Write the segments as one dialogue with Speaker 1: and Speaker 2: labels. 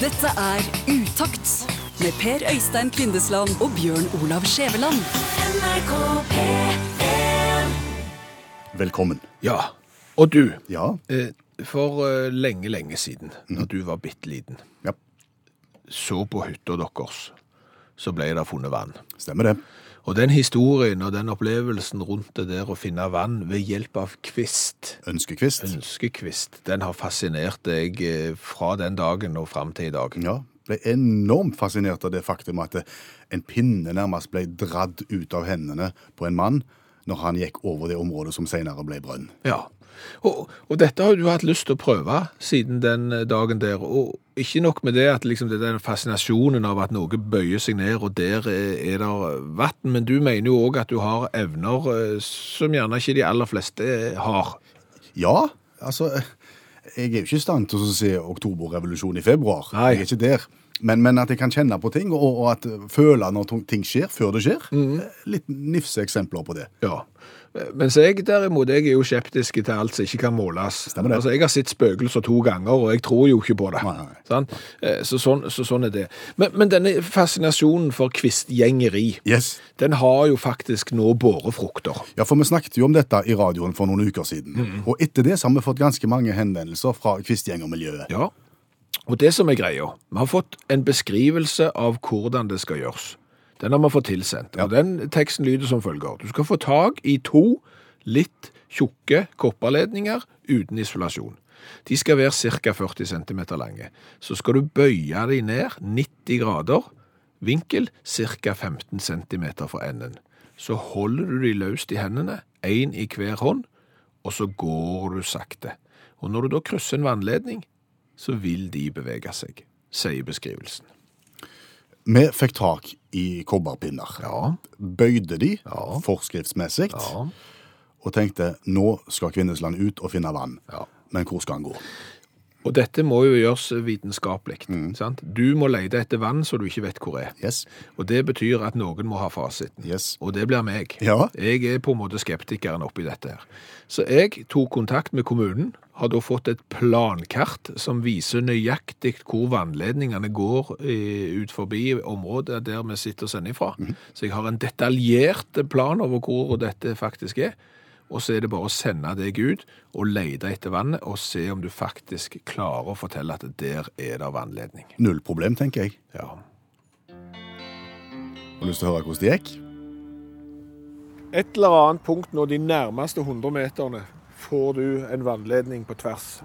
Speaker 1: Dette er Utakt med Per Øystein Kvindesland og Bjørn Olav Skjæveland.
Speaker 2: Velkommen.
Speaker 3: Ja. Og du,
Speaker 2: Ja.
Speaker 3: eh, for eh, lenge, lenge siden, når du var bitte liten,
Speaker 2: ja.
Speaker 3: så på hytta deres, så ble det funnet vann.
Speaker 2: Stemmer det.
Speaker 3: Og den historien og den opplevelsen rundt det der å finne vann ved hjelp av kvist,
Speaker 2: Ønskekvist.
Speaker 3: ønskekvist, den har fascinert deg eh, fra den dagen og fram til i dag.
Speaker 2: Ja. Ble enormt fascinert av det faktum at en pinne nærmest ble dradd ut av hendene på en mann når han gikk over det området som senere ble brønn.
Speaker 3: Ja. Og, og dette har du hatt lyst til å prøve siden den eh, dagen der. Og ikke nok med det at liksom det er den fascinasjonen av at noe bøyer seg ned, og der er, er det vann, men du mener jo òg at du har evner eh, som gjerne ikke de aller fleste eh, har.
Speaker 2: Ja, altså Jeg er jo ikke i stand til å se oktoberrevolusjon i februar.
Speaker 3: Nei.
Speaker 2: Jeg er ikke der. Men, men at jeg kan kjenne på ting, og, og at føle når to- ting skjer, før det skjer. Litt nifse eksempler på det.
Speaker 3: Ja. Mens jeg derimot, jeg er jo skeptisk til alt som ikke kan måles.
Speaker 2: Stemmer det.
Speaker 3: Altså, jeg har sett spøkelser to ganger, og jeg tror jo ikke på det.
Speaker 2: Nei, nei, nei.
Speaker 3: Sant? Eh, Så, sånn, så sånn er det. Men, men denne fascinasjonen for kvistgjengeri,
Speaker 2: Yes.
Speaker 3: den har jo faktisk nå båret frukter.
Speaker 2: Ja, for vi snakket jo om dette i radioen for noen uker siden.
Speaker 3: Mm.
Speaker 2: Og etter det så har vi fått ganske mange henvendelser fra kvistgjengermiljøet.
Speaker 3: Ja. Og det som er greia, vi har fått en beskrivelse av hvordan det skal gjøres. Den har vi fått tilsendt, og den teksten lyder som følger. Du skal få tak i to litt tjukke kopperledninger uten isolasjon. De skal være ca. 40 cm lange. Så skal du bøye dem ned 90 grader, vinkel ca. 15 cm fra enden. Så holder du dem løst i hendene, én i hver hånd, og så går du sakte. Og når du da krysser en vannledning, så vil de bevege seg, sier beskrivelsen.
Speaker 2: Vi fikk tak i kobberpinner.
Speaker 3: Ja.
Speaker 2: Bøyde de
Speaker 3: Ja.
Speaker 2: forskriftsmessig og tenkte nå skal Kvinnesland ut og finne vann.
Speaker 3: Ja.
Speaker 2: Men hvor skal han gå?
Speaker 3: Og dette må jo gjøres vitenskapelig.
Speaker 2: Mm.
Speaker 3: Sant? Du må lete etter vann så du ikke vet hvor er.
Speaker 2: Yes.
Speaker 3: Og det betyr at noen må ha fasiten.
Speaker 2: Yes.
Speaker 3: Og det blir meg.
Speaker 2: Ja.
Speaker 3: Jeg er på en måte skeptikeren oppi dette her. Så jeg tok kontakt med kommunen, har da fått et plankart som viser nøyaktig hvor vannledningene går eh, ut forbi området der vi sitter og sender ifra. Så jeg har en detaljert plan over hvor dette faktisk er. Og så er det bare å sende deg ut og lete etter vannet og se om du faktisk klarer å fortelle at der er det vannledning.
Speaker 2: Null problem, tenker jeg.
Speaker 3: Ja.
Speaker 2: Har lyst til å høre hvordan det gikk?
Speaker 3: Et eller annet punkt nå, de nærmeste 100 meterne, får du en vannledning på tvers.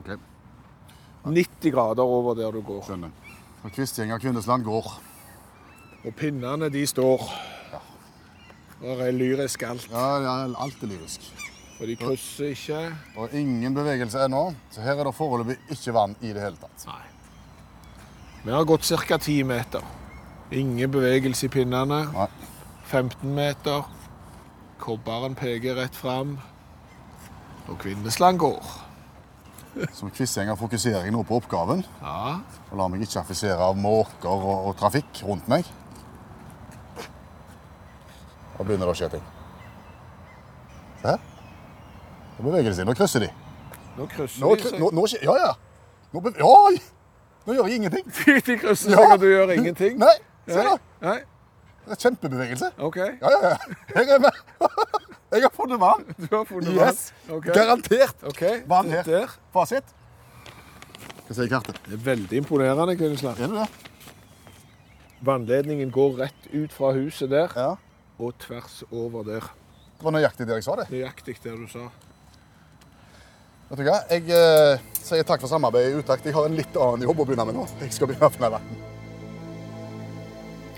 Speaker 3: 90 grader over der du går.
Speaker 2: Skjønner. Og Kvistgjenger Kvinnesland går.
Speaker 3: Og pinnene, de står. Der er lyrisk alt,
Speaker 2: Ja, ja, alt er lyrisk.
Speaker 3: og de krysser ikke.
Speaker 2: Og ingen bevegelse ennå, så her er det foreløpig ikke vann i det hele tatt.
Speaker 3: Vi har gått ca. 10 meter. Ingen bevegelse i pinnene.
Speaker 2: Nei.
Speaker 3: 15 meter. Kobberen peker rett fram. Og Kvinnesland går.
Speaker 2: Som kvistgjenger fokuserer jeg nå på oppgaven.
Speaker 3: Ja,
Speaker 2: Og lar meg ikke affisere av måker og, og trafikk rundt meg. Da begynner det å skje ting. Se her. Nå beveger de seg. Nå krysser de.
Speaker 3: nå krysser
Speaker 2: Nå,
Speaker 3: de
Speaker 2: kry-
Speaker 3: seg.
Speaker 2: nå, nå skje- Ja, ja. Nå, bev- Oi! nå gjør jeg ingenting.
Speaker 3: De krysser seg, og du gjør ingenting.
Speaker 2: Nei. Se, da.
Speaker 3: Nei,
Speaker 2: Det er Kjempebevegelse.
Speaker 3: ok.
Speaker 2: Ja, ja, ja. Her er vi. Jeg har funnet vann.
Speaker 3: Du har funnet
Speaker 2: Yes.
Speaker 3: vann. Ok.
Speaker 2: Garantert
Speaker 3: Ok,
Speaker 2: vann her.
Speaker 3: Der.
Speaker 2: Fasit. Hva sier kartet?
Speaker 3: Det er veldig imponerende, Kvinnesland.
Speaker 2: Er det det?
Speaker 3: Vannledningen går rett ut fra huset der
Speaker 2: Ja.
Speaker 3: og tvers over der.
Speaker 2: Det var nøyaktig der jeg sa det.
Speaker 3: Nøyaktig der du sa.
Speaker 2: Vet du hva? Jeg eh, sier takk for samarbeidet i Utakt. Jeg har en litt annen jobb å begynne med nå. Jeg skal bli aftenavakten.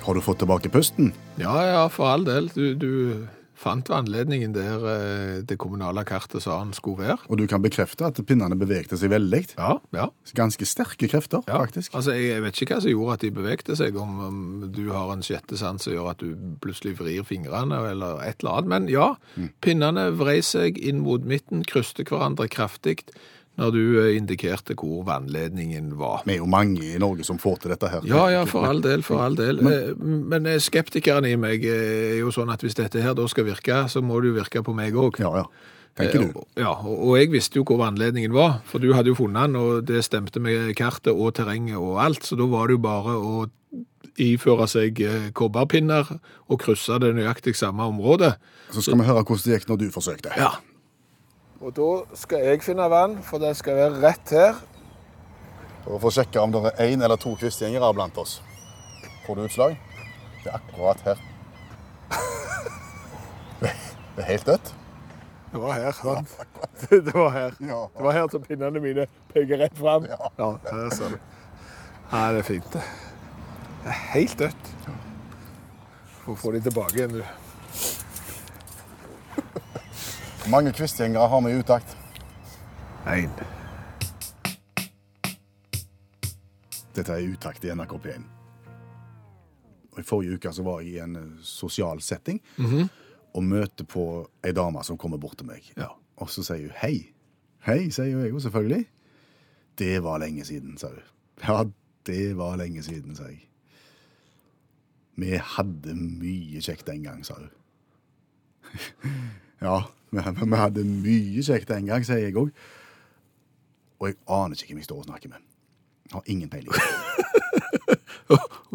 Speaker 2: Har du fått tilbake pusten?
Speaker 3: Ja, ja, for all del. Du, du fant vannledningen der eh, det kommunale kartet sa den skulle være.
Speaker 2: Og du kan bekrefte at pinnene bevegte seg veldig.
Speaker 3: Ja, ja.
Speaker 2: Ganske sterke krefter,
Speaker 3: ja.
Speaker 2: faktisk.
Speaker 3: Altså, jeg, jeg vet ikke hva som gjorde at de bevegte seg, om, om du har en sjette sans som gjør at du plutselig vrir fingrene eller et eller annet. Men ja, pinnene vrei seg inn mot midten, kryste hverandre kraftig når du eh, indikerte hvor vannledningen var.
Speaker 2: Vi er jo mange i Norge som får til dette her.
Speaker 3: Ja, ja, for all del, for all del. Eh, Men eh, skeptikeren i meg eh, er jo sånn at hvis dette her da skal virke, så må det jo virke på meg òg.
Speaker 2: Ja, ja. tenker
Speaker 3: Eh,
Speaker 2: du.
Speaker 3: og- Ja, og og jeg visste jo hvor vannledningen var, for du hadde jo funnet den, og det stemte med kartet og terrenget og alt, så da var det jo bare å iføre seg eh, kobberpinner og krysse det nøyaktig samme området.
Speaker 2: Så skal vi høre hvordan det gikk når du forsøkte.
Speaker 3: Ja. Og da skal jeg finne vann, for det skal være rett her.
Speaker 2: For å få sjekke om det er én eller to kvistgjengere blant oss. Får du utslag? Det er akkurat her. Det er helt dødt.
Speaker 3: Det var her, sant? Det var her.
Speaker 2: Ja.
Speaker 3: Det var her som pinnene mine peker rett fram.
Speaker 2: Ja.
Speaker 3: her ser du. Nei, det er fint. det. Det er helt dødt. Får få de tilbake igjen, du.
Speaker 2: Hvor mange kvistgjengere har vi i utakt?
Speaker 3: Én.
Speaker 2: Dette er utakt i NRK P1. Og I forrige uke så var jeg i en eh, sosial setting
Speaker 3: Mhm.
Speaker 2: og møter på ei dame som kommer bort til meg.
Speaker 3: Ja.
Speaker 2: Og så sier hun hei. Hei, sier jo jeg jo selvfølgelig. Det var lenge siden, sa hun. Ja, det var lenge siden, sa jeg. Vi hadde mye kjekt den gang, sa hun. ja, vi, vi hadde mye kjekt den gang, sier jeg òg. Og jeg aner ikke hvem jeg står og snakker med. Har ingen peiling.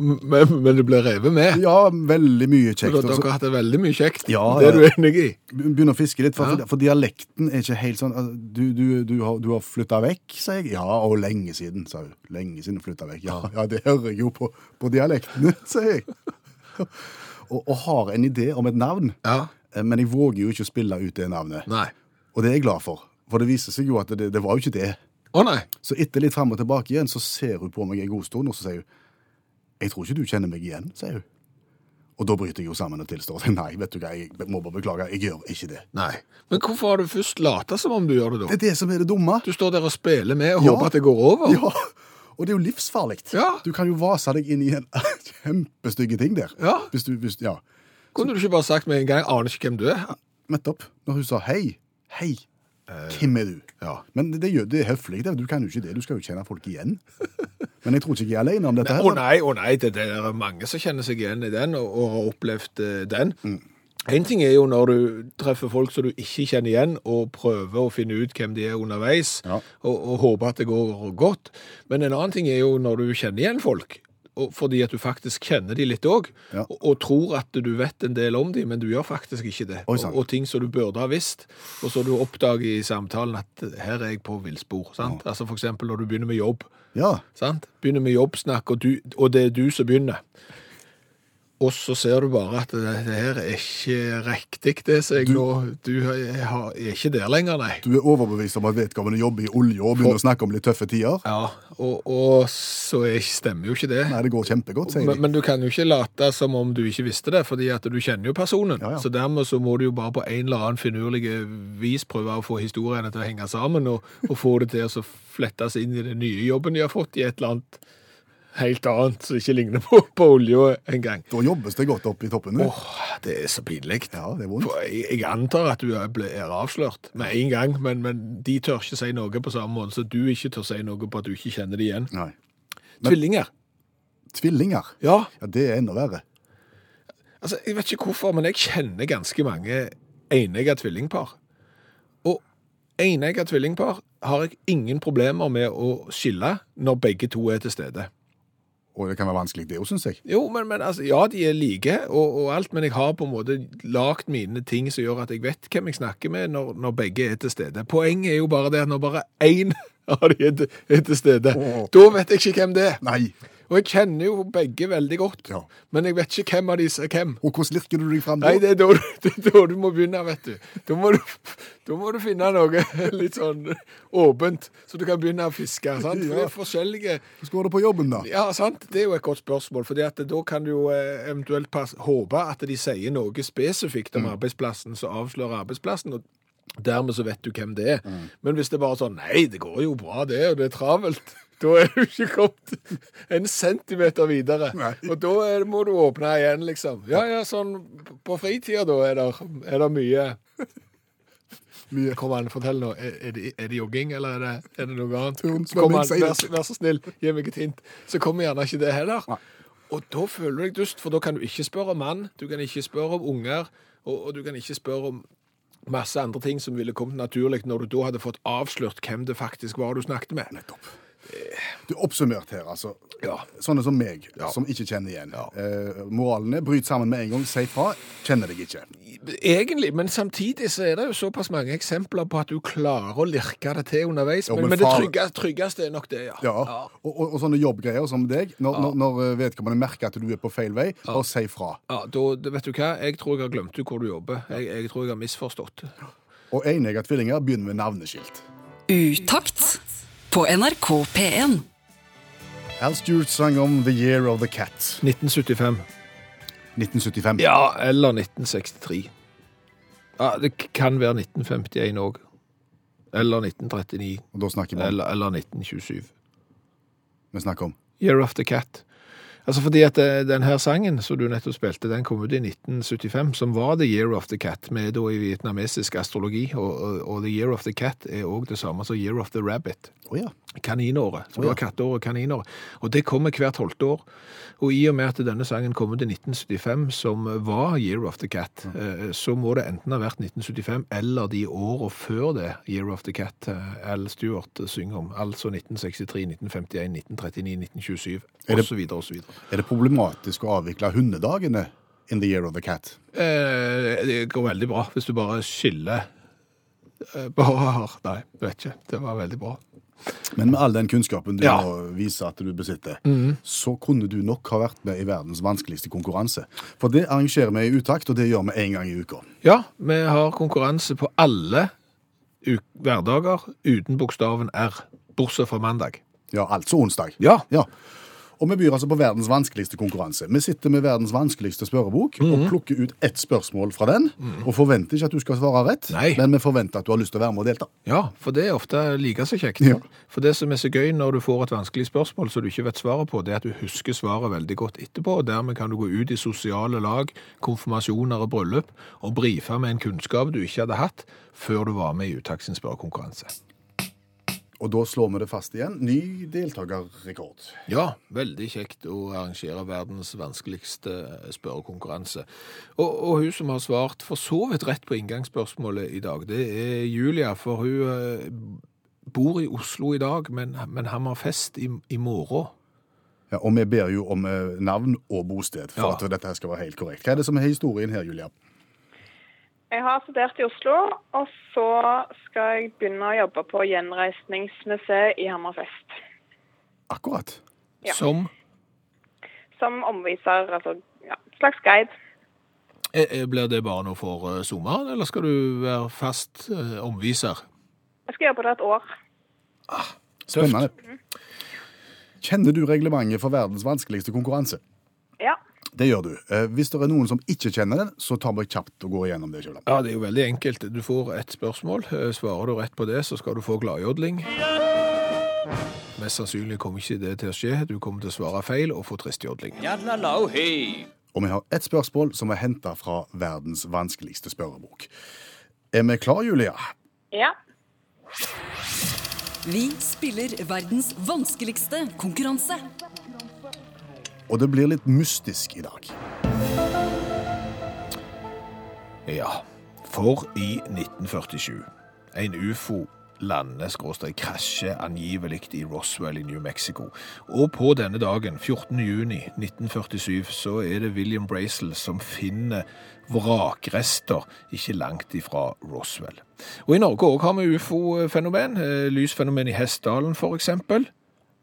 Speaker 3: Men, men du ble revet med.
Speaker 2: Ja, veldig mye kjekt.
Speaker 3: Dere
Speaker 2: Og så
Speaker 3: har hatt det veldig mye kjekt.
Speaker 2: Ja,
Speaker 3: det
Speaker 2: ja.
Speaker 3: er du enig i?
Speaker 2: begynner å fiske litt, for,
Speaker 3: Ja.
Speaker 2: for dialekten er ikke helt sånn altså, Du, du, du har, du har flytta vekk, sa jeg. Ja, og lenge siden, sa hun. Lenge siden flytta vekk. Ja, ja, det hører jeg jo på, på dialektene, sa jeg. Og, og har en idé om et navn,
Speaker 3: Ja.
Speaker 2: eh, men jeg våger jo ikke å spille ut det navnet.
Speaker 3: Nei.
Speaker 2: Og det er jeg glad for, for det viser seg jo at det, det var jo ikke det.
Speaker 3: Å nei.
Speaker 2: Så etter litt fram og tilbake igjen, så ser hun på meg en god stund, og så sier hun Jeg tror ikke du kjenner meg igjen, sier hun. Og da bryter jeg jo sammen og tilstår nei, vet du hva, jeg må bare beklage, jeg gjør ikke det.
Speaker 3: Nei. Men hvorfor har du først lata som om du gjør det,
Speaker 2: Det
Speaker 3: da?
Speaker 2: er det som er det dumme.
Speaker 3: Du står der og spiller med og
Speaker 2: Ja.
Speaker 3: håper at det går over.
Speaker 2: Ja, og det er jo livsfarlig.
Speaker 3: Ja.
Speaker 2: Du kan jo vase deg inn i en kjempestygge ting der.
Speaker 3: Ja.
Speaker 2: Hvis du, hvis, ja.
Speaker 3: Kunne du ikke bare sagt med en gang 'aner ikke hvem du er'?
Speaker 2: Nettopp. Når hun sa hei, hei, hvem er du?
Speaker 3: Ja.
Speaker 2: Men det, gjør- det er høflig, det. du kan jo ikke det. Du skal jo kjenne folk igjen. Men jeg tror ikke jeg er alene om dette.
Speaker 3: Å
Speaker 2: her.
Speaker 3: nei, å nei, det, det er mange som kjenner seg igjen i den og, og har opplevd eh, den.
Speaker 2: Mm.
Speaker 3: En ting er jo når du treffer folk som du ikke kjenner igjen, og prøver å finne ut hvem de er underveis,
Speaker 2: Ja.
Speaker 3: og, og håper at det går godt. Men en annen ting er jo når du kjenner igjen folk, og, fordi at du faktisk kjenner de litt òg,
Speaker 2: Ja.
Speaker 3: og, og tror at du vet en del om de, men du gjør faktisk ikke det.
Speaker 2: Oi,
Speaker 3: Og,
Speaker 2: sant.
Speaker 3: og ting som du burde ha visst, og så du oppdager i samtalen at her er jeg på villspor. sant? Altså for eksempel når du begynner med jobb.
Speaker 2: Ja.
Speaker 3: Sant? Begynner med jobbsnakk, og, du, og det er du som begynner. Og så ser du bare at det, det her er ikke riktig, det som jeg nå Du er, har- er ikke der lenger, nei.
Speaker 2: Du er overbevist om at vedkommende jobber i olje og begynner å snakke om litt tøffe tider.
Speaker 3: Ja, og, og så er, stemmer jo ikke det.
Speaker 2: Nei, det går kjempegodt, sier
Speaker 3: Men,
Speaker 2: de.
Speaker 3: men du kan jo ikke late som om du ikke visste det, fordi at du kjenner jo personen.
Speaker 2: Ja, ja.
Speaker 3: Så dermed så må du jo bare på en eller annen finurlig vis prøve å få historiene til å henge sammen, og, og få det til å så flettes inn i den nye jobben de har fått i et eller annet helt annet som ikke ligner på, på olje engang.
Speaker 2: Da jobbes det godt opp i toppen.
Speaker 3: Åh, det er så pinlig.
Speaker 2: Ja, det er vondt.
Speaker 3: For Jeg, jeg antar at du er ble- er avslørt med en gang, men, men de tør ikke si noe på samme måte, så du ikke tør si noe på at du ikke kjenner det igjen.
Speaker 2: Nei.
Speaker 3: Tvillinger.
Speaker 2: Tvillinger.
Speaker 3: Ja,
Speaker 2: Ja, det er enda verre.
Speaker 3: Altså, Jeg vet ikke hvorfor, men jeg kjenner ganske mange enegga tvillingpar. Og enegga tvillingpar har jeg ingen problemer med å skille når begge to er til stede.
Speaker 2: Og det kan være vanskelig, det òg, syns jeg.
Speaker 3: Jo, men, men altså, Ja, de er like og, og alt, men jeg har på en måte lagd mine ting som gjør at jeg vet hvem jeg snakker med når, når begge er til stede. Poenget er jo bare det at når bare én av de er til, er til stede,
Speaker 2: Åh.
Speaker 3: da vet jeg ikke hvem det er.
Speaker 2: Nei.
Speaker 3: Og jeg kjenner jo begge veldig godt,
Speaker 2: Ja.
Speaker 3: men jeg vet ikke hvem av de som er hvem.
Speaker 2: Og hvordan lirker du deg fram da?
Speaker 3: Nei, det er da du, det er da du må begynne, vet du. Da må du, da må du finne noe litt sånn åpent, så du kan begynne å fiske. sant? For det er forskjellige
Speaker 2: Hvordan går det på jobben, da?
Speaker 3: Ja, sant? Det er jo et godt spørsmål, for da kan du jo eh, eventuelt pass, håpe at de sier noe spesifikt om arbeidsplassen, så avslører arbeidsplassen. og Dermed så vet du hvem det er. Men hvis det er bare sånn Nei, det går jo bra, det, og det er travelt. Da er du ikke kommet en centimeter videre.
Speaker 2: Nei.
Speaker 3: Og da er, må du åpne igjen, liksom. Ja, ja, sånn på fritida, da, er det er der mye
Speaker 2: Mye.
Speaker 3: Kom an, fortell nå. Er, er, det, er det jogging, eller er det, er det noe annet?
Speaker 2: Turn,
Speaker 3: Kom
Speaker 2: svømming,
Speaker 3: an,
Speaker 2: seiling.
Speaker 3: vær, så- vær så snill, gi meg et hint. Så kommer gjerne ikke det heller. Og da føler du deg dust, for da kan du ikke spørre om mann, du kan ikke spørre om unger, og, og du kan ikke spørre om masse andre ting som ville kommet naturlig når du da hadde fått avslørt hvem det faktisk var du snakket med.
Speaker 2: Nettopp. Du oppsummert her, altså.
Speaker 3: Ja.
Speaker 2: Sånne som meg,
Speaker 3: Ja.
Speaker 2: som ikke kjenner igjen.
Speaker 3: Ja.
Speaker 2: Eh, moralen er bryt sammen med en gang, si fra, kjenner deg ikke.
Speaker 3: Egentlig, men samtidig så er det jo såpass mange eksempler på at du klarer å lirke det til underveis.
Speaker 2: Jo,
Speaker 3: men,
Speaker 2: men
Speaker 3: men, det
Speaker 2: far-
Speaker 3: trygge, tryggeste er nok det, ja.
Speaker 2: Ja. Og, og, og sånne jobbgreier som deg, når, når, når eh, vedkommende merker at du er på feil vei, og si fra.
Speaker 3: Ja, da, da vet du hva, jeg tror jeg har glemt ut hvor du jobber. Jeg, jeg tror jeg har misforstått.
Speaker 2: Og enegga tvillinger begynner med navneskilt.
Speaker 1: Utakt på NRK P1.
Speaker 2: Al Stewart sang om The Year of the Cat,
Speaker 3: 1975.
Speaker 2: 1975.
Speaker 3: Ja, eller 1963. Ja, det k- kan være 1951 òg. Eller 1939.
Speaker 2: Og da snakker vi om,
Speaker 3: Eller, eller 1927.
Speaker 2: vi snakker om.
Speaker 3: Year of the Cat. Altså fordi at eh, den her sangen som du nettopp spilte, den kom ut i 1975, som var The Year of the Cat, med da i vietnamesisk astrologi, og, og, og The Year of the Cat er òg det samme som Year of the Rabbit.
Speaker 2: Å ja.
Speaker 3: Kaninåret. Så
Speaker 2: Å,
Speaker 3: det
Speaker 2: ja.
Speaker 3: var katteåret, kaninåret. Og det kommer hvert tolvte år. Og i og med at denne sangen kom ut i 1975, som var Year of the Cat, eh, så må det enten ha vært 1975 eller de årene før det Year of the Cat eh, Al Stewart synger om. Altså 1963, 1951, 1939, 1927
Speaker 2: Er det-
Speaker 3: osv. osv.
Speaker 2: Er det problematisk å avvikle hundedagene in The Year of the Cat?
Speaker 3: Eh, Det går veldig bra hvis du bare skiller eh, Bare har Nei, jeg vet ikke. Det var veldig bra.
Speaker 2: Men med all den kunnskapen du
Speaker 3: Ja. Mm.
Speaker 2: nå viser at du besitter, så kunne du nok ha vært med i verdens vanskeligste konkurranse. For det arrangerer vi i utakt, og det gjør vi én gang i uka.
Speaker 3: Ja, vi har konkurranse på alle u- hverdager uten bokstaven R, bortsett fra mandag.
Speaker 2: Ja, altså onsdag.
Speaker 3: Ja.
Speaker 2: Ja. Og vi byr altså på verdens vanskeligste konkurranse. Vi sitter med verdens vanskeligste spørrebok
Speaker 3: Mhm.
Speaker 2: og plukker ut ett spørsmål fra den. Og forventer ikke at du skal svare rett,
Speaker 3: Nei.
Speaker 2: men vi forventer at du har lyst til å være med og delta.
Speaker 3: Ja, for det er ofte like så kjekt.
Speaker 2: Ja.
Speaker 3: For det som er så gøy når du får et vanskelig spørsmål som du ikke vet svaret på, det er at du husker svaret veldig godt etterpå, og dermed kan du gå ut i sosiale lag, konfirmasjoner og bryllup, og brife med en kunnskap du ikke hadde hatt før du var med i Utakts spørrekonkurranse.
Speaker 2: Og da slår vi det fast igjen. Ny deltakerrekord.
Speaker 3: Ja, veldig kjekt å arrangere verdens vanskeligste eh, spørrekonkurranse. Og, og hun som har svart for så vidt rett på inngangsspørsmålet i dag, det er Julia, for hun eh, bor i Oslo i dag, men, men han har fest i, i morgen.
Speaker 2: Ja, og vi ber jo om eh, navn og bosted for
Speaker 3: Ja.
Speaker 2: at dette her skal være helt korrekt. Hva er det som er historien her, Julia?
Speaker 4: Jeg har studert i Oslo, og så skal jeg begynne å jobbe på Gjenreisningsmuseet i Hammerfest.
Speaker 2: Akkurat.
Speaker 4: Ja.
Speaker 3: Som
Speaker 4: Som omviser, altså ja, slags guide.
Speaker 3: eh, eh, Blir det bare nå for eh, sommeren, eller skal du være fast eh, omviser?
Speaker 4: Jeg skal jobbe der et år.
Speaker 2: Spennende. Kjenner du reglementet for verdens vanskeligste konkurranse?
Speaker 4: Ja.
Speaker 2: Det gjør du. Eh, Hvis det er noen som ikke kjenner den, så tar vi kjapt og går igjennom det. Kjøland.
Speaker 3: Ja, det er jo veldig enkelt. Du får et spørsmål. Eh, Svarer du rett på det, så skal du få gladjodling. Mest sannsynlig kommer ikke det til å skje. Du kommer til å svare feil og få tristjodling.
Speaker 2: Og vi har ett spørsmål som er henta fra verdens vanskeligste spørrebok. Er vi klar, Julia?
Speaker 4: Ja.
Speaker 1: Vi spiller verdens vanskeligste konkurranse.
Speaker 2: Og det blir litt mystisk i dag.
Speaker 3: Ja, for i 1947 en ufo lander skråstrek krasjer angivelig i Roswell i New Mexico. Og på denne dagen, 14. juni 1947, så er det William Bracel som finner vrakrester ikke langt ifra Roswell. Og i Norge òg har vi ufo-fenomen. eh, Lysfenomen i Hessdalen, for eksempel.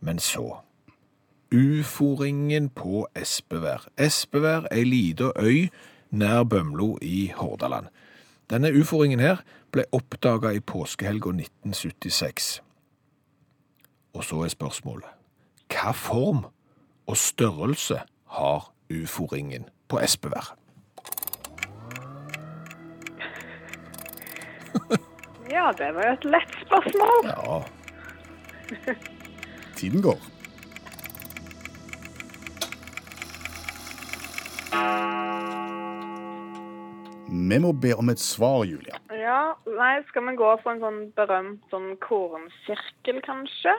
Speaker 3: Men så Uforingen på Espevær. Espevær er ei lita øy nær Bømlo i Hordaland. Denne uforingen her ble oppdaga i påskehelga 1976. Og så er spørsmålet hva form og størrelse har uforingen på Espevær?
Speaker 4: ja, det var jo et lett spørsmål.
Speaker 3: Ja,
Speaker 2: Tiden går. Vi må be om et svar, Julia.
Speaker 4: Ja, nei, skal vi gå for en sånn berømt sånn kornsirkel, kanskje?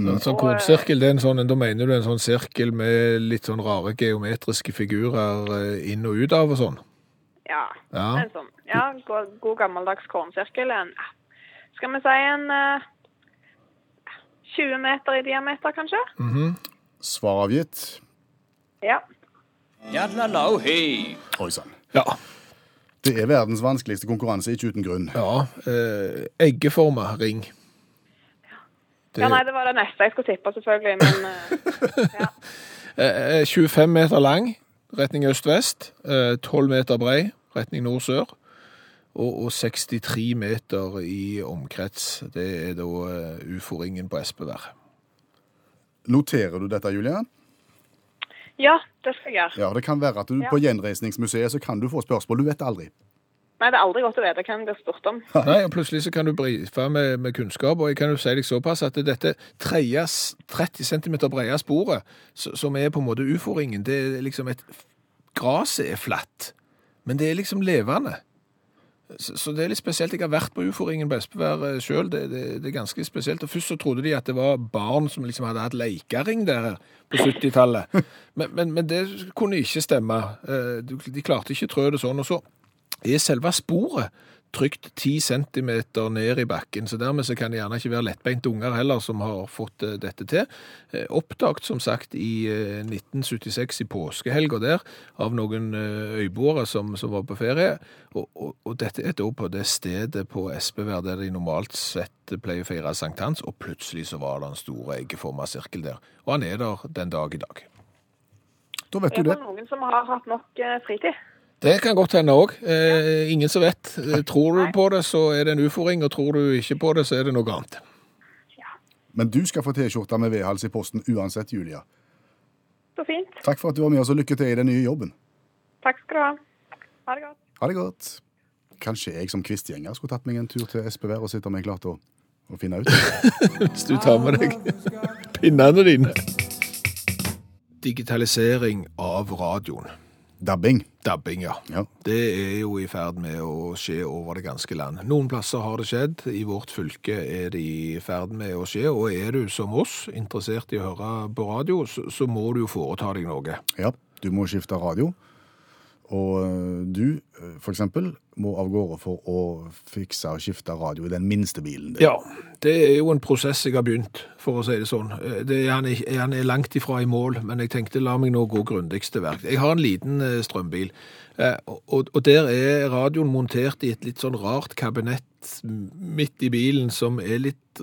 Speaker 3: En sånn kornsirkel, det er en sånn, da mener du en sånn sirkel med litt sånn rare geometriske figurer eh, inn og ut av og sånn?
Speaker 4: Ja.
Speaker 3: Ja.
Speaker 4: En sånn, Ja, god, god gammeldags kornsirkel. En, ja, skal vi si en eh, 20 meter i diameter, kanskje?
Speaker 2: Svar avgitt.
Speaker 4: Ja.
Speaker 5: Yadlalau hei.
Speaker 2: Oi sann.
Speaker 3: Ja.
Speaker 2: Det er verdens vanskeligste konkurranse, ikke uten grunn.
Speaker 3: ja eh, eggeforma ring. Det
Speaker 4: ja. Nei,
Speaker 3: er
Speaker 4: det var det neste jeg skulle tippe, selvfølgelig. Men eh,
Speaker 3: eh, 25 meter lang, retning øst-vest. Eh, 12 meter brei, retning nord-sør. Og, og 63 meter i omkrets. Det er da eh, ufo-ringen på Espevær.
Speaker 2: Noterer du dette, Julian?
Speaker 4: ja, det skal jeg gjøre.
Speaker 2: Ja, det kan være at du
Speaker 4: Ja.
Speaker 2: på Gjenreisningsmuseet så kan du få spørsmål. Du vet aldri.
Speaker 4: Nei, det er aldri godt å vite hva en blir spurt om.
Speaker 3: Nei, og plutselig så kan du brife med, med kunnskap, og jeg kan jo si deg såpass at dette tredje s- 30 cm brede sporet, s- som er på en måte ufo-ringen, det er liksom et Graset er flatt, men det er liksom levende. Så, så det er litt spesielt. Jeg har vært på ufo-ringen på Espevær eh, sjøl, det, det, det er ganske spesielt. Og først så trodde de at det var barn som liksom hadde hatt leikering der eh, på 70-tallet, men, men, men det kunne ikke stemme. Eh, du- De klarte ikke trø det sånn. og så er selve sporet trygt 10 cm ned i bakken, så dermed så kan det gjerne ikke være lettbeinte unger heller som har fått eh, dette til. Eh, Oppdagt, som sagt, i eh, 1976 i påskehelga der, av noen eh, øyboere som, som var på ferie. Og, og, og dette er da på det stedet på Espevær der de normalt sett pleier å feire sankthans, og plutselig så var det en stor eggeforma sirkel der. Og han er der den dag i dag.
Speaker 2: Da vet
Speaker 4: Er
Speaker 2: du
Speaker 4: det
Speaker 2: det.
Speaker 4: noen som har hatt nok eh, fritid?
Speaker 3: Det kan godt hende òg. Eh, ingen som vet. Eh, Tror du på det, så er det en ufo-ring, og tror du ikke på det, så er det noe annet.
Speaker 2: Men du skal få T-skjorta med vedhals i posten uansett, Julia.
Speaker 4: Så fint.
Speaker 2: Takk for at du var med oss, og lykke til i den nye jobben.
Speaker 4: Takk skal du ha. Ha det godt.
Speaker 2: Ha det godt. Kanskje jeg som kvistgjenger skulle tatt meg en tur til Espevær og sett om jeg klarte å, å finne ut.
Speaker 3: Hvis du tar med deg pinnene dine. Digitalisering av radioen.
Speaker 2: Dabbing.
Speaker 3: Dabbing, ja.
Speaker 2: Ja.
Speaker 3: Det er jo i ferd med å skje over det ganske land. Noen plasser har det skjedd, i vårt fylke er det i ferd med å skje. Og er du som oss interessert i å høre på radio, så, så må du jo foreta deg noe.
Speaker 2: Ja, du må skifte radio. Og øh, du, øh, for eksempel, må av gårde for å fikse og skifte radio i den minste bilen din.
Speaker 3: Ja, det er jo en prosess jeg har begynt, for å si det sånn. Eh, Det er, han, ikke- han er langt ifra i mål, men jeg tenkte la meg nå gå grundigst til verk. Jeg har en liten eh, strømbil, eh, og, og der er radioen montert i et litt sånn rart kabinett midt i bilen som er litt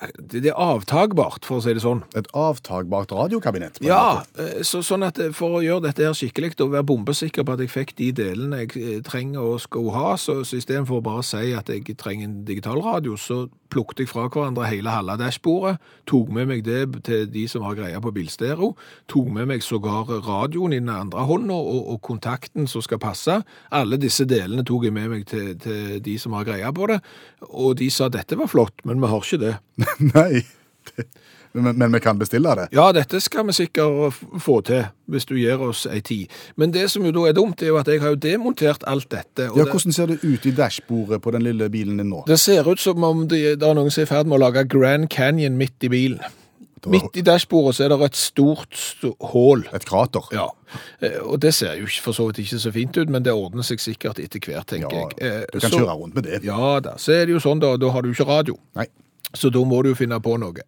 Speaker 3: eh, Det det er avtagbart, for å si det sånn.
Speaker 2: Et avtagbart radiokabinett. på en
Speaker 3: Ja,
Speaker 2: måte.
Speaker 3: eh, så, sånn at eh, for å gjøre dette her skikkelig og være bombesikker på at jeg fikk de delene jeg eh, trenger og skal ha, så, så istedenfor å bare si at jeg trenger en digitalradio, så plukket jeg fra hverandre hele halve dashbordet, tok med meg det til de som har greia på bilstereo, tok med meg sågar radioen i den andre hånda og, og kontakten som skal passe. Alle disse delene tok jeg med meg til, til de som har greia på det, og de sa dette var flott, men vi har ikke det.
Speaker 2: Nei, det, men, men vi kan bestille det.
Speaker 3: Ja, dette skal vi sikkert f- få til, hvis du gir oss ei tid. Men det som jo da er dumt, er jo at jeg har jo demontert alt dette. og
Speaker 2: Ja,
Speaker 3: det-
Speaker 2: Hvordan ser det ut i dashbordet på den lille bilen din nå?
Speaker 3: Det ser ut som om det, det er noen som er i ferd med å lage Grand Canyon midt i bilen. Midt i dashbordet så er det et stort st- hål.
Speaker 2: Et krater.
Speaker 3: Ja, Eh, og det ser jo ikke- for så vidt ikke så fint ut, men det ordner seg sikkert etter hvert, tenker
Speaker 2: Ja,
Speaker 3: jeg. Eh,
Speaker 2: du kan
Speaker 3: så-
Speaker 2: kjøre rundt med det.
Speaker 3: Ja da. Så er det jo sånn, da, da har du ikke radio.
Speaker 2: Nei.
Speaker 3: Så da må du jo finne på noe.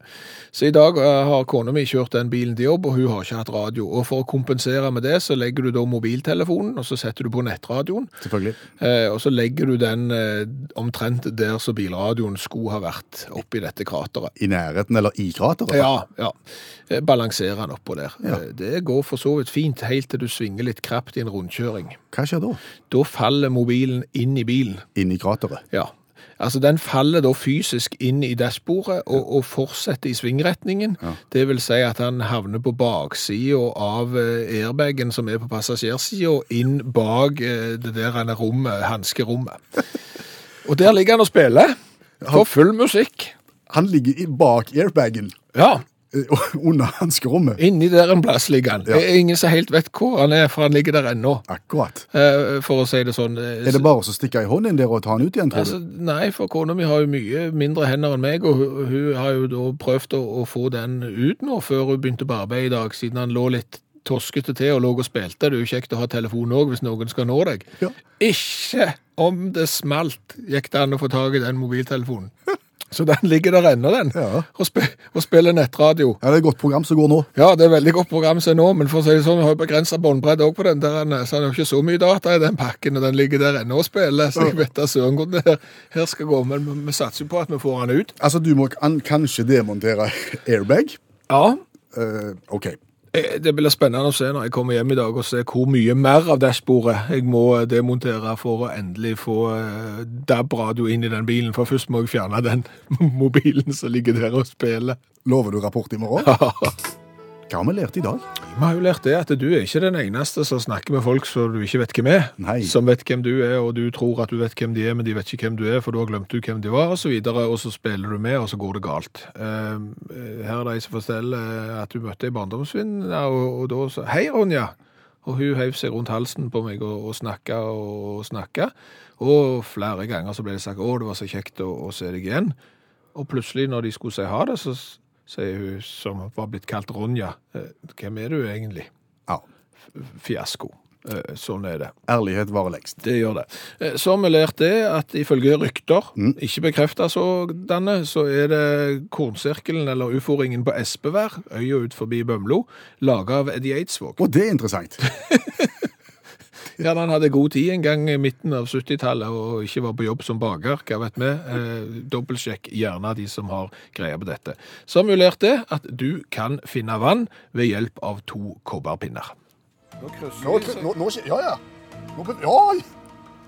Speaker 3: Så i dag eh, har kona mi kjørt den bilen til jobb, og hun har ikke hatt radio. Og for å kompensere med det, så legger du da mobiltelefonen, og så setter du på nettradioen.
Speaker 2: Selvfølgelig.
Speaker 3: Eh, og så legger du den eh, omtrent der som bilradioen skulle ha vært, oppi dette krateret.
Speaker 2: I nærheten eller i krateret?
Speaker 3: Ja, ja. Eh, Balanserer den oppå der. Eh, Det går for så vidt fint, helt til du svinger litt krapt i en rundkjøring.
Speaker 2: Hva skjer da?
Speaker 3: Da faller mobilen inn i bilen.
Speaker 2: Inn i krateret.
Speaker 3: Ja. Altså, den faller da fysisk inn i dashbordet og, og fortsetter i svingretningen. Det vil si at han havner på baksida av eh, airbagen som er på passasjersida, og inn bak eh, det der han er rommet, hanskerommet. Og der ligger han og spiller. For full musikk.
Speaker 2: Han ligger i, bak airbagen,
Speaker 3: Ja.
Speaker 2: eh, under hanskerommet.
Speaker 3: Inni der en plass ligger han. Det er ingen som helt vet hvor han er, for han ligger der ennå.
Speaker 2: Akkurat.
Speaker 3: Eh, For å si det sånn. eh,
Speaker 2: Er det bare å stikke ei hånd inn der og ta den ut igjen, tror
Speaker 3: Altså,
Speaker 2: du?
Speaker 3: nei, for kona mi har jo mye mindre hender enn meg, og hun, hun har jo da prøvd å, å få den ut nå, før hun begynte på arbeid i dag, siden han lå litt toskete til og lå og spilte. Det er jo kjekt å ha telefon òg, hvis noen skal nå deg.
Speaker 2: Ja.
Speaker 3: Ikke om det smalt, gikk det an å få tak i den mobiltelefonen. Så den ligger der ennå, den,
Speaker 2: Ja.
Speaker 3: og, spi og spiller nettradio.
Speaker 2: Ja, det er et godt program som går nå.
Speaker 3: Ja, det er veldig godt program som er nå, men for å si det sånn, vi har jo begrensa båndbredde òg på den der, eh, så han har jo ikke så mye data i den pakken, og den ligger der ennå og spiller, så jeg vet da søren hvor det her, her skal gå, men vi- vi satser jo på at vi får han ut.
Speaker 2: Altså, du må kan, kanskje demontere airbag.
Speaker 3: Ja,
Speaker 2: Eh, OK.
Speaker 3: eh, det blir spennende å se når jeg kommer hjem i dag og se hvor mye mer av dashbordet jeg må eh, demontere for å endelig få eh, DAB-radio inn i den bilen, for først må jeg fjerne den mobilen som ligger der og spiller.
Speaker 2: Lover du rapport i morgen? Hva har vi lært i dag?
Speaker 3: Vi har jo lært det at du er ikke den eneste som snakker med folk som du ikke vet hvem er.
Speaker 2: Nei.
Speaker 3: Som vet hvem du er, og du tror at du vet hvem de er, men de vet ikke hvem du er, for da glemte du hvem de var, og så videre, og så spiller du med, og så går det galt. Ehm, her er de som forteller at du møtte ei barndomsvenninne, og, og da sa Hei, Ronja! Og hun heiv seg rundt halsen på meg og, og snakka og snakka. Og flere ganger så ble det sagt 'Å, det var så kjekt å, å se deg igjen'. Og plutselig, når de skulle si ha det, så s- sier hun som var blitt kalt Ronja, «Eh, hvem er du egentlig?
Speaker 2: Ja,
Speaker 3: Fiasko. Eh, Sånn er det.
Speaker 2: Ærlighet varer lengst.
Speaker 3: Det gjør det. Eh, Så har vi lært det at ifølge rykter, ikke bekrefta sådanne, så er det kornsirkelen eller ufo-ringen på Espevær, øya ut forbi Bømlo, laga av Eddie Eidsvåg.
Speaker 2: Og det er interessant.
Speaker 3: Ja, han hadde god tid en gang i midten av 70-tallet og ikke var på jobb som baker, hva vet vi. Eh, dobbeltsjekk gjerne de som har greie på dette. Så har vi lært det at du kan finne vann ved hjelp av to kobberpinner.
Speaker 2: Nå, nå, nå, skje- ja, ja. Nå, be- ja,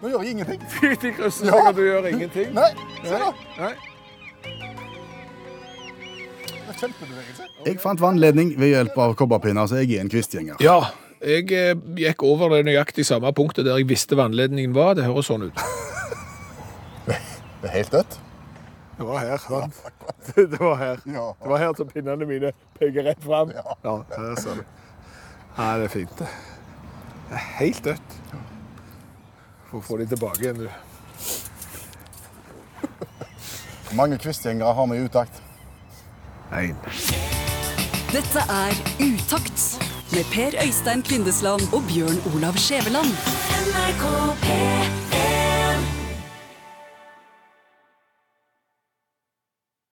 Speaker 2: nå gjør jeg ingenting.
Speaker 3: De krysser
Speaker 2: seg, og du
Speaker 3: gjør ingenting.
Speaker 2: Nei, se da.
Speaker 3: Nei.
Speaker 2: Kjempebevegelse. Jeg fant vannledning ved hjelp av kobberpinner, så jeg er en kvistgjenger.
Speaker 3: Ja, jeg eh, gikk over det nøyaktig samme punktet der jeg visste vannledningen var. Det høres sånn ut.
Speaker 2: Det er helt dødt.
Speaker 3: Det var her, sant? Det var her.
Speaker 2: Ja.
Speaker 3: var her som pinnene mine peker rett fram.
Speaker 2: Ja.
Speaker 3: her ser du. Nei, det er fint. det. Det er helt dødt. Får få de tilbake igjen, du.
Speaker 2: Mange kvistgjengere har vi i utakt.
Speaker 3: Én.
Speaker 1: Dette er Utakt med Per Øystein Kvindesland og Bjørn Olav Skjæveland.
Speaker 6: NRK P3